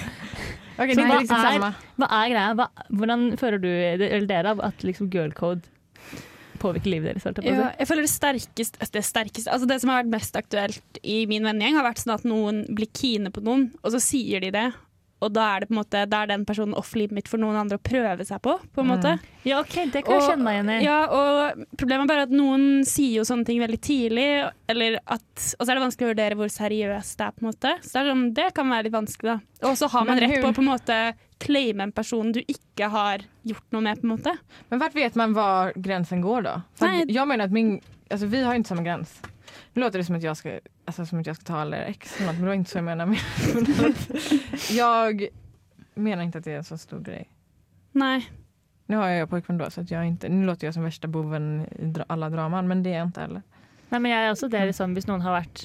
A: Okay,
B: Så
A: det er
B: hva
A: ikke liksom
B: er-
A: samme.
B: Hva er greia? Hva, hvordan føler du, eller dere, av at liksom girl code påvirker livet deres? holdt jeg på å si?
E: Ja, jeg føler det sterkeste, det sterkeste altså Det som har vært mest aktuelt i min vennegjeng, har vært sånn at noen blir kine på noen, og så sier de det. Og da er det på en måte, da er den personen off limit for noen andre å prøve seg på. på en
C: Mm.
E: måte.
B: Ja, ok, det kan jeg
E: Og-
B: kjenne meg igjen i.
E: Ja, og Problemet er bare at noen sier jo sånne ting veldig tidlig, eller at, og så er det vanskelig å vurdere hvor seriøst det er. på en måte. Så Det er sånn, det kan være litt vanskelig. da. Og så har man
A: Men
E: rett på
A: hun-
E: å på en måte claime en person du ikke har gjort noe med. på en måte.
A: Men vart vet man var gränsen går då? För att
E: Nej.
A: jag menar att min, alltså vi har ju inte samma gräns. Nu låter det som att jag ska, alltså, som att jag ska ta alla ex eller något, men det var inte så jag menar. jag menar inte att det är en så stor grej.
E: Nei.
A: Nu har jag ju pojkvän då så att jag inte, nu låter jag som värsta boven i dra, alla draman men det är jag inte heller.
B: Nei, men jeg er også det, liksom, Hvis noen har vært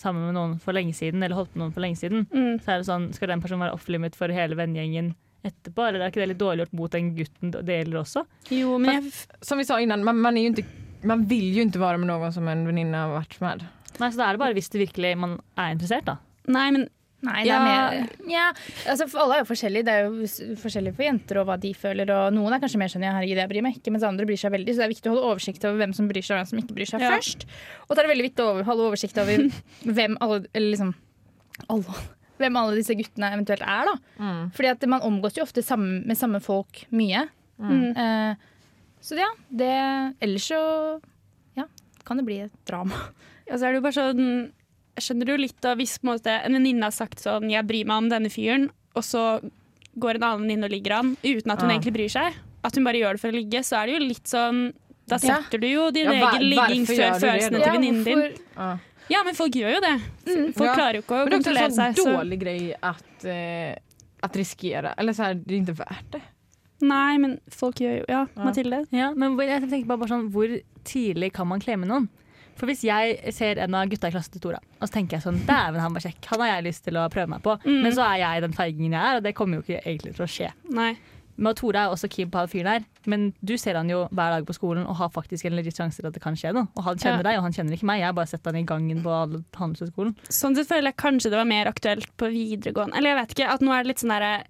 B: sammen med noen for lenge siden, eller holdt på med noen for lenge siden,
E: Mm.
B: så er det sånn, skal den personen være off-limit for hele vennegjengen etterpå? Eller er ikke det litt dårlig gjort mot den gutten det gjelder også?
E: Jo, men jeg
A: Som vi sa innan, man, man, är ju inte, man vill ju inte vara med någon som en väninna har varit med.
B: Nei, Så da er det bare hvis det virkelig man er interessert, da.
E: Nei, men
C: Nei, det
E: Ja.
C: er mer ja. altså, for Alle er jo forskjellige. Det er jo s- forskjellig for jenter og hva de føler. Og noen er kanskje mer sånn ja, herregud, jeg bryr meg ikke, mens andre bryr seg veldig. Så det er viktig å holde oversikt over hvem som bryr seg og hvem som ikke bryr seg
E: Ja.
C: først. Og så er det veldig viktig å over- holde oversikt over hvem alle, eller liksom, alle, hvem alle disse guttene eventuelt er. da.
E: Mm.
C: Fordi at man omgås jo ofte samme, med samme folk mye.
E: Mm.
C: Eh, så det, ja, det Ellers så ja, kan det bli et drama.
E: Ja, så er det jo bare sånn Jeg skjønner jo litt av hvis på en måte, en venninne har sagt sånn 'jeg bryr meg om denne fyren', og så går en annen venninne og ligger han uten at hun
A: Ah.
B: Ja.
E: egentlig bryr seg. At hun bare gjør det for å ligge, så er det jo litt sånn Da
C: Ja.
E: setter du jo din
A: Ja, hva-
E: egen ligging
A: hvorfor
E: før
A: gjør du det,
E: følelsene
A: da?
E: til venninnen din.
C: hvorfor-
A: Ja.
E: Ja, men folk gjør jo det. Folk
A: Mm, Ja.
E: klarer jo ikke å
A: Men det är också
E: kontrollere
A: en sån
E: seg. Så.
A: dålig grej att, eh, att riskera. Eller så här, det är inte värt det.
E: Nei, men folk gjør jo Ja, Mathilde.
B: Ja, men hvor- jeg tenker bare, bare sånn, hvor tidlig kan man klemme noen? For hvis jeg ser en av gutta i klassen til Tora, og så tenker jeg sånn, dæven han var kjekk, han har jeg lyst til å prøve meg på. Men så er jeg den feigingen jeg er, og det kommer jo ikke egentlig til å skje.
E: Nei.
B: Men Tora er også keen på han fyren her, men du ser han jo hver dag på skolen og har faktisk en legit sjanse til at det kan skje noe. Og han kjenner deg, og han kjenner ikke meg. Jeg har bare sett han i gangen på alle- Handelshøyskolen.
E: Sånn sett føler jeg kanskje det var mer aktuelt på videregående. Eller jeg vet ikke, at nå er det litt sånn derre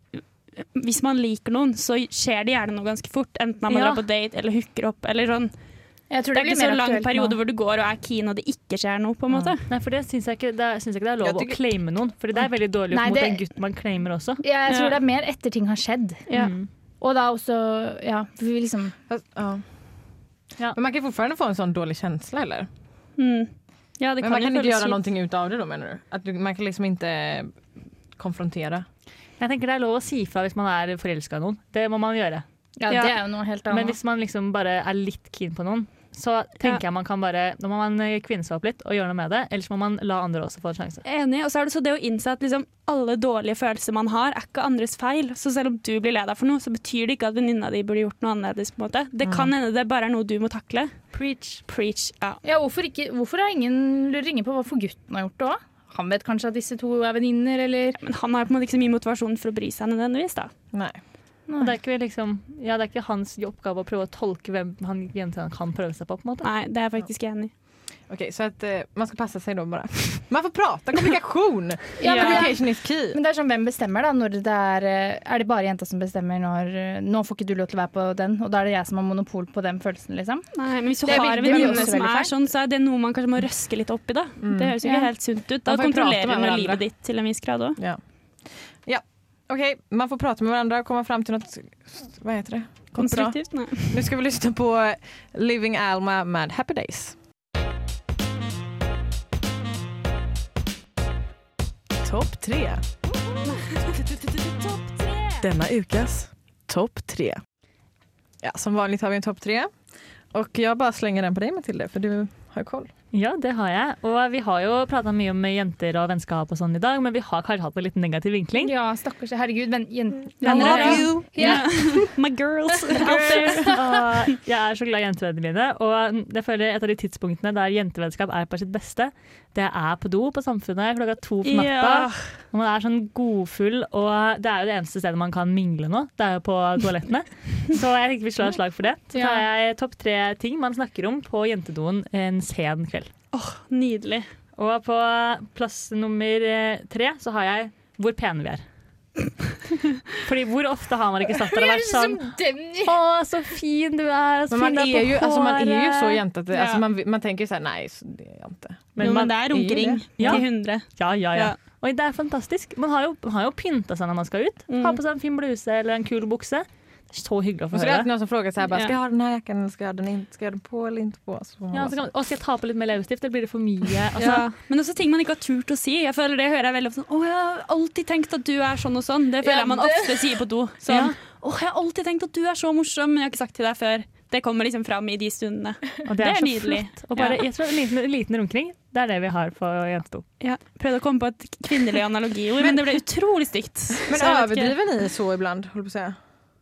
E: Hvis man liker noen, så skjer det gjerne noe ganske fort. Enten at man
B: Ja.
E: drar på date eller hooker opp eller sånn.
C: Jeg tror
E: Det er
C: blir
E: ikke så
C: mer
E: lang
C: aktuelt nå.
E: periode hvor du går og er keen og det ikke skjer noe, på en måte.
B: Nei, for det syns jeg, ikke- det syns jeg ikke det er lov å claime noen. For det er veldig dårlig
C: Nei,
B: mot
C: det-
B: den gutten man claimer også.
C: Ja, jeg tror
E: Ja.
C: det er mer etter ting har skjedd.
E: Ja.
B: Mm.
C: Og da også Ja, for vi liksom
A: Fast, ja.
B: Ja.
A: Men man kan fortfarande få en sån dårlig känsla eller?
E: Mm. Ja, det
A: Men man kan
E: kan, jo
A: inte
E: føles
A: göra
E: kjipt.
A: någonting utav det då menar du? Att du, man kan liksom inte konfrontera?
B: Jeg tenker Det er lov å si fra hvis man er forelska i noen. Det må man gjøre.
C: Ja,
E: Ja.
C: det er jo noe helt
B: Men
C: annet.
B: hvis man liksom bare er litt keen på noen, så tenker jeg man kan bare Da må man eh, kvinne seg opp litt og gjøre noe med det. Ellers må man la andre også få en sjanse.
E: Enig. Og så er det så det å innse at liksom alle dårlige følelser man har, er ikke andres feil. Så selv om du blir lei deg for noe, så betyr det ikke at venninna di burde gjort noe annerledes. på en måte. Det kan hende det bare er noe du må takle.
B: Preach.
E: Preach. Ja.
C: ja, hvorfor, ikke, hvorfor har ingen lurer ingen på hvorfor gutten har gjort det òg? Han vet kanskje at disse to er venninner, eller
E: Men han har på en måte ikke så mye motivasjon for å bry seg nødvendigvis, da.
A: Nej.
B: Og det er ikke liksom Ja, det er ikke hans oppgave å prøve å tolke hvem han jenta han kan prøve seg på, på en måte.
E: Nei, det er jeg faktisk enig i.
A: Okej, så att eh, man ska passa sig då bara. Man får prata, kommunikation!
C: Ja, men det-
A: Communication is key.
C: Men det er sånn, hvem bestemmer, da? Når det er eh, Er det bare jenta som bestemmer når eh, Nå får ikke du lov til å være på den, og da er det jeg som har monopol på den følelsen, liksom?
E: Nei, men hvis du
C: Det er
E: har
C: veldig-
E: en
C: det er
E: venninne
C: også
E: som
C: veldig
E: er
C: feil.
E: sånn, så er det noe man kanskje må røske litt opp i, da. Det høres jo ikke
C: Ja.
E: helt sunt ut. Da
A: Man Mm. får jo prate
E: kontrollerer
A: med
E: hun jo
A: hverandre.
E: livet ditt til en viss grad òg.
A: Ja. ja. Okej, man får prata med varandra och komma fram till något, vad heter det? Något bra.
E: Konstruktivt. Nei.
A: Nu ska vi lyssna på eh, Living Alma med Happy Days. Topp tre. Denna ukas topp tre. Ja, som vanligt har vi en topp tre. Och jag bara slänger den på dig Matilda, för du har koll.
B: Ja, det har jeg. Og vi har jo prata mye om jenter og vennskap og sånn i dag, men vi har kanskje hatt en litt negativ vinkling.
C: Ja, stakkars. Herregud, men jenter
A: you!
C: Ja.
E: My girls out there.
B: Og jeg er så glad i jentevennene mine. Og jeg føler et av de tidspunktene der jentevennskap er på sitt beste, det er på do på Samfunnet klokka to på natta.
E: Ja.
B: Når man er sånn godfull, og det er jo det eneste stedet man kan mingle nå. Det er jo på toalettene. Så jeg tenkte vi slår et slag for det. Så tar jeg topp tre ting man snakker om på jentedoen en sen kveld.
E: Nydelig.
B: Og på plass nummer eh, tre så har jeg hvor pene vi er. Fordi hvor ofte har man ikke satt der og vært sånn Å, så fin du er! Så
A: liksom Men man
B: fin du
A: är,
B: er
A: ju,
B: på
A: alltså man är ju så
B: håret.
A: jämt att det, alltså man, man tänker så här, nej så det är jag inte.
E: Men, jo, men det er
A: man-
E: runkering
B: Ja.
E: til 100.
B: Ja, ja, ja.
E: Ja.
B: Oi, det er fantastisk. Man har jo, man har jo pynta seg når man skal ut. Ha på seg en fin bluse eller en kul bukse. Det er Så hyggelig å
A: Och
B: få
A: Mm. så är det alltid
B: høre.
A: någon som frågar så här, bara,
E: Ja.
A: ska jag ha den här jackan eller ska jag ha den, inte, ska jag ha den på eller inte på? Så får man
B: Ja,
A: vara
B: så
A: så.
B: kan, man- å, skal jeg ta på litt mer leppestift, eller blir det for mye? Altså,
E: Ja. Men også ting man ikke har turt å si. Jeg føler Det hører jeg veldig ofte sånn, Å, jeg har alltid tenkt at du er sånn og sånn. Det føler jeg man ofte sier på do. Sånn,
B: Ja.
E: Å, jeg har alltid tenkt at du er så morsom, men jeg har ikke sagt til deg før. Det kommer liksom fram i de stundene.
B: Og det er, så
E: det er nydelig.
B: flott. Og bare, jeg tror, en liten, en liten runkring, det er det vi har på jentedo.
E: Ja. Prøvde å komme på et kvinnelig analogiord, men det ble utrolig stygt.
A: Men
E: Så jeg vet ikke.
A: överdriver ni så ibland, håller på att säga?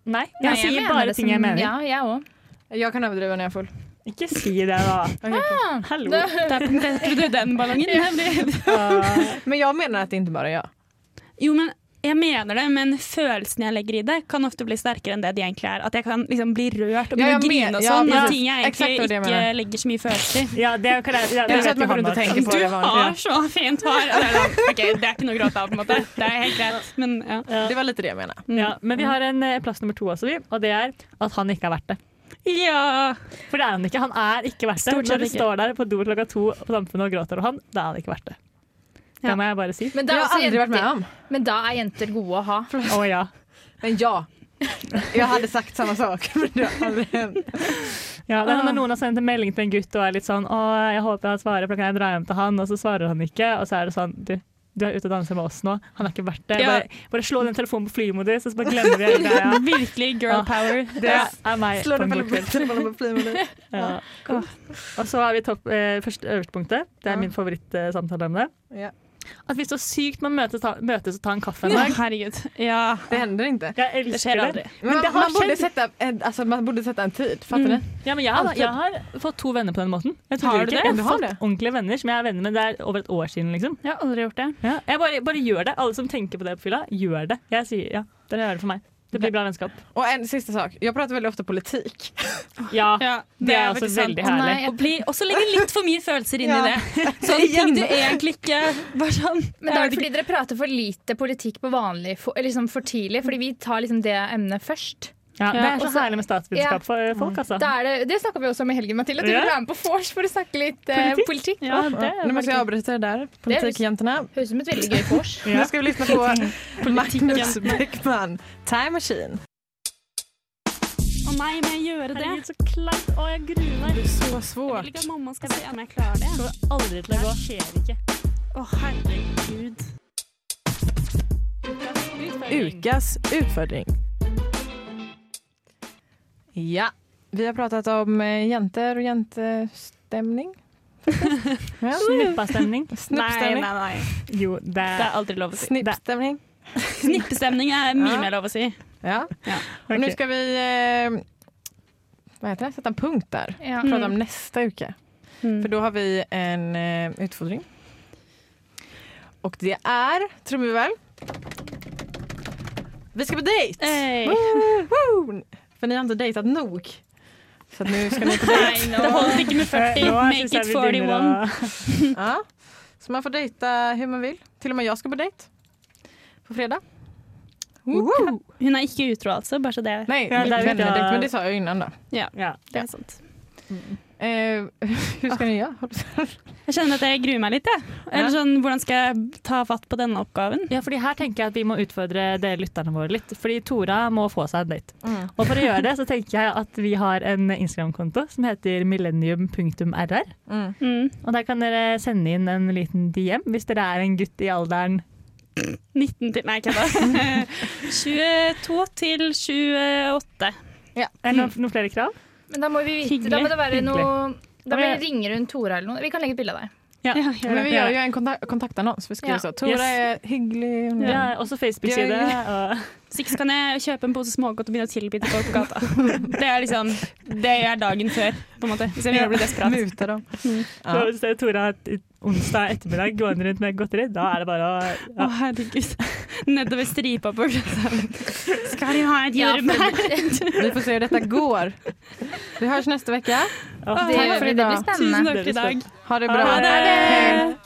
B: Nei, jeg
C: Nei,
B: sier
C: mener
B: bare
C: det
B: ting
C: som-
B: jeg mener.
C: Ja, jeg òg.
A: Jag kan överdriva när jag är full.
B: Ikke si det, da. Hallo.
E: Der vet du den ballongen. Det blir-
A: Men jag menar att det inte bara är jag.
E: Jo, men jeg mener det, men følelsen jeg legger i det, kan ofte bli sterkere enn det de egentlig er. At jeg kan liksom bli rørt og
A: Ja, jeg
E: begynne å grine
A: mener-
E: og
A: ja,
E: sånn.
A: precis.
E: av ting jeg
A: Exakt
E: egentlig
A: vad det jag
E: ikke
A: menar.
E: legger så mye følelser i.
B: Ja, det kan jeg, ja, det
A: Eller så
B: vet
A: at man går
B: Johanna.
A: rundt og tenker på
E: Du
A: det
E: har
A: vanlige.
E: så fint hår! Og det er sånn, OK, det er ikke noe å gråte av, på en måte. Det er helt greit, men ja.
A: Det var lite det jeg mente.
B: Ja, men vi har en eh, plass nummer to, altså, vi, og det er at han ikke er verdt det.
E: ja.
B: For det er han ikke. Han er ikke verdt det.
E: Stort sett
B: Når du
E: ikke.
B: står der på do klokka to på Samfunnet og gråter av han, da er han ikke verdt det. Det må jeg bare si.
C: Men
A: Det har
C: da, er også
A: jeg aldri vært med
C: jenter,
A: om.
C: men da er jenter gode å ha.
B: Å ja.
A: Men ja. Jeg hadde sagt samme sak. Men det har aldri hendt.
B: Ja, det er sånn
E: Ah.
B: når noen har sendt en melding til en gutt og er litt sånn 'Å, jeg håper han svarer, for da kan jeg dra hjem til han', og så svarer han ikke, og så er det sånn du, du er ute og danser med oss nå. Han er ikke verdt det.
E: Ja.
B: Bare, bare slå den telefonen på flymodus, og så bare glemmer vi hele greia.
E: Virkelig girl
B: Ja.
E: power.
B: Det er meg.
A: Slår du
B: på en
A: Eh, på
B: god kveld.
A: telefonen på flymobilen?
B: Ja. Og så har vi topp, eh, første øverste punktet. Det er min favorittsamtaleemne.
A: Ja.
B: At vi så sykt man møtes, ta, møtes og tar en kaffe en
E: Å,
B: dag.
E: Herregud. Ja.
A: Det händer inte.
B: Jeg elsker
E: Det skjer aldri.
A: Men
B: det
A: man,
B: har
A: man, borde
B: skjedd.
A: sätta en, alltså, man borde sätta en tid, fattar ni?
B: Ja, men jeg, har,
A: Alltid.
B: jeg har fått to venner på den måten. Jeg tror
E: Har
B: ikke
E: du det?
B: Jeg
A: Du
B: har
A: har
B: fått
A: det?
B: ordentlige venner som jeg er venner med. Det er over et år siden, liksom.
E: Jeg har aldri gjort det.
B: Ja. Jeg bare, bare gjør det. Alle som tenker på det på fylla, gjør det. Jeg sier ja. Dere gjør det for meg. Det blir bra vennskap.
A: Och en sista sak, jag pratar väldigt ofta politik.
B: Ja,
E: Ja,
B: det, er også
E: faktisk sant.
B: veldig
E: Å, nei,
B: herlig.
E: Og bli- også legge litt for mye følelser inn
A: Ja.
E: i det. Sånne ting du egentlig ikke Bare sånn
C: Men da
E: jeg vet
C: er det fordi dere prater for lite politikk på vanlig, for, eller liksom for tidlig, fordi vi tar liksom det emnet først.
B: Ja, det er så
C: Også-
B: herlig med statsvitenskap
C: Ja.
B: for folk, altså.
C: Da er det, det snakka vi også om i helgen, Mathilde. At du
B: Ja.
C: ville være med på vors for å snakke litt eh, politikk.
E: Ja, det
A: Nu måste jag avbryta det där, politikjäntorna.
C: Høres ut som et veldig gøy vors.
A: Nu ska vi lyssna på Magnus Bäckman, Time Machine.
E: Å nei, må jeg gjøre det?
B: Herregud, så kleint. Å, jeg gruer meg.
A: Så
E: Jeg
A: svårt.
E: vil ikke at mamma skal se om jeg klarer det.
B: Jeg kommer aldri til å gå. Det skjer ikke.
E: Å, herregud.
A: Ukas utfordring. Ja, vi har pratat om eh, jenter och jentestämning. Ja.
B: Snuppastemning.
E: Nei,
A: Snippstämning.
E: nei, nei.
B: Jo, det
E: Det er aldri lov å si.
A: Snippstämning.
E: Snippestemning er mye
A: Ja.
E: mer lov å si.
A: Ja.
B: Ok.
A: Och nu ska vi eh, vad heter det? sätta en punkt där.
C: Ja.
A: Prata om nästa vecka. För då har vi en eh, utfordring. Och det är, tror vi väl, vi ska på dejt!
E: Hey.
A: Woo, woo. För ni har inte dejtat nog. Så att nu ska ni på dejt.
E: Det holder ikke med 40.
B: Eh, Nå
E: Make
B: synes
E: it
B: jeg vi begynner
E: 41.
B: å-
A: ja. Så man får dejta hur man vill. Till och med jag ska på dejt. På fredag. Woo.
E: Hun er ikke utro, altså. Bare så det er,
A: Nej,
B: Ja, det är ju
A: vennedejt,
B: bra.
A: men det sa jag ju innan då.
B: Ja.
E: det er sant.
A: Eh, hur ska ni göra?
E: Jeg kjenner at jeg gruer meg litt, jeg. Eller sånn, hvordan skal jeg ta fatt på denne oppgaven?
B: Ja, fordi her tenker jeg at vi må utfordre dere lytterne våre litt. Fordi Tora må få seg en date. Og for å gjøre det, så tenker jeg at vi har en Instagram-konto som heter millennium.rr.
E: Mm.
B: Og der kan dere sende inn en liten DM hvis dere er en gutt i alderen
E: 19 til Nei, kødda. 22 til 28.
B: Er det noen, noen flere krav?
C: Men da må vi vite.
B: Hyggelig,
C: Da må det være
B: hyggelig.
C: noe Da må
B: Ja.
C: vi ringe rundt Tora eller noe. Vi kan legge et bilde av deg.
E: Ja, gjør
A: Men
E: det.
A: vi gör ju en kontak- kontaktannons. Vi skriver
C: Ja.
A: så. Tora
B: Yes.
A: är hygglig. hon är-
B: Ja, også Facebook-side. og-
E: Så ikke så kan jeg kjøpe en pose smågodt og begynne å tilby til folk på gata. Det er liksom Det er dagen før, på en måte. Hvis jeg begynner å bli desperat.
A: Muta dem.
B: Så Hvis dere, Tora har et onsdag ettermiddag gående rundt med godteri, da er det bare å
E: Å, herregud. Nedover stripa på glasset. Skal du ha et
C: Ja,
E: jordbær?
A: Vi får se hur detta går. Vi hörs nästa vecka.
C: Det,
B: ja.
A: takk
C: gjør
A: for
C: vi.
E: Ah,
A: i
C: det
A: dag.
C: blir
E: Tusen
C: spennende.
E: takk for i dag.
A: Ha det bra.
B: Ha det.
A: Hej.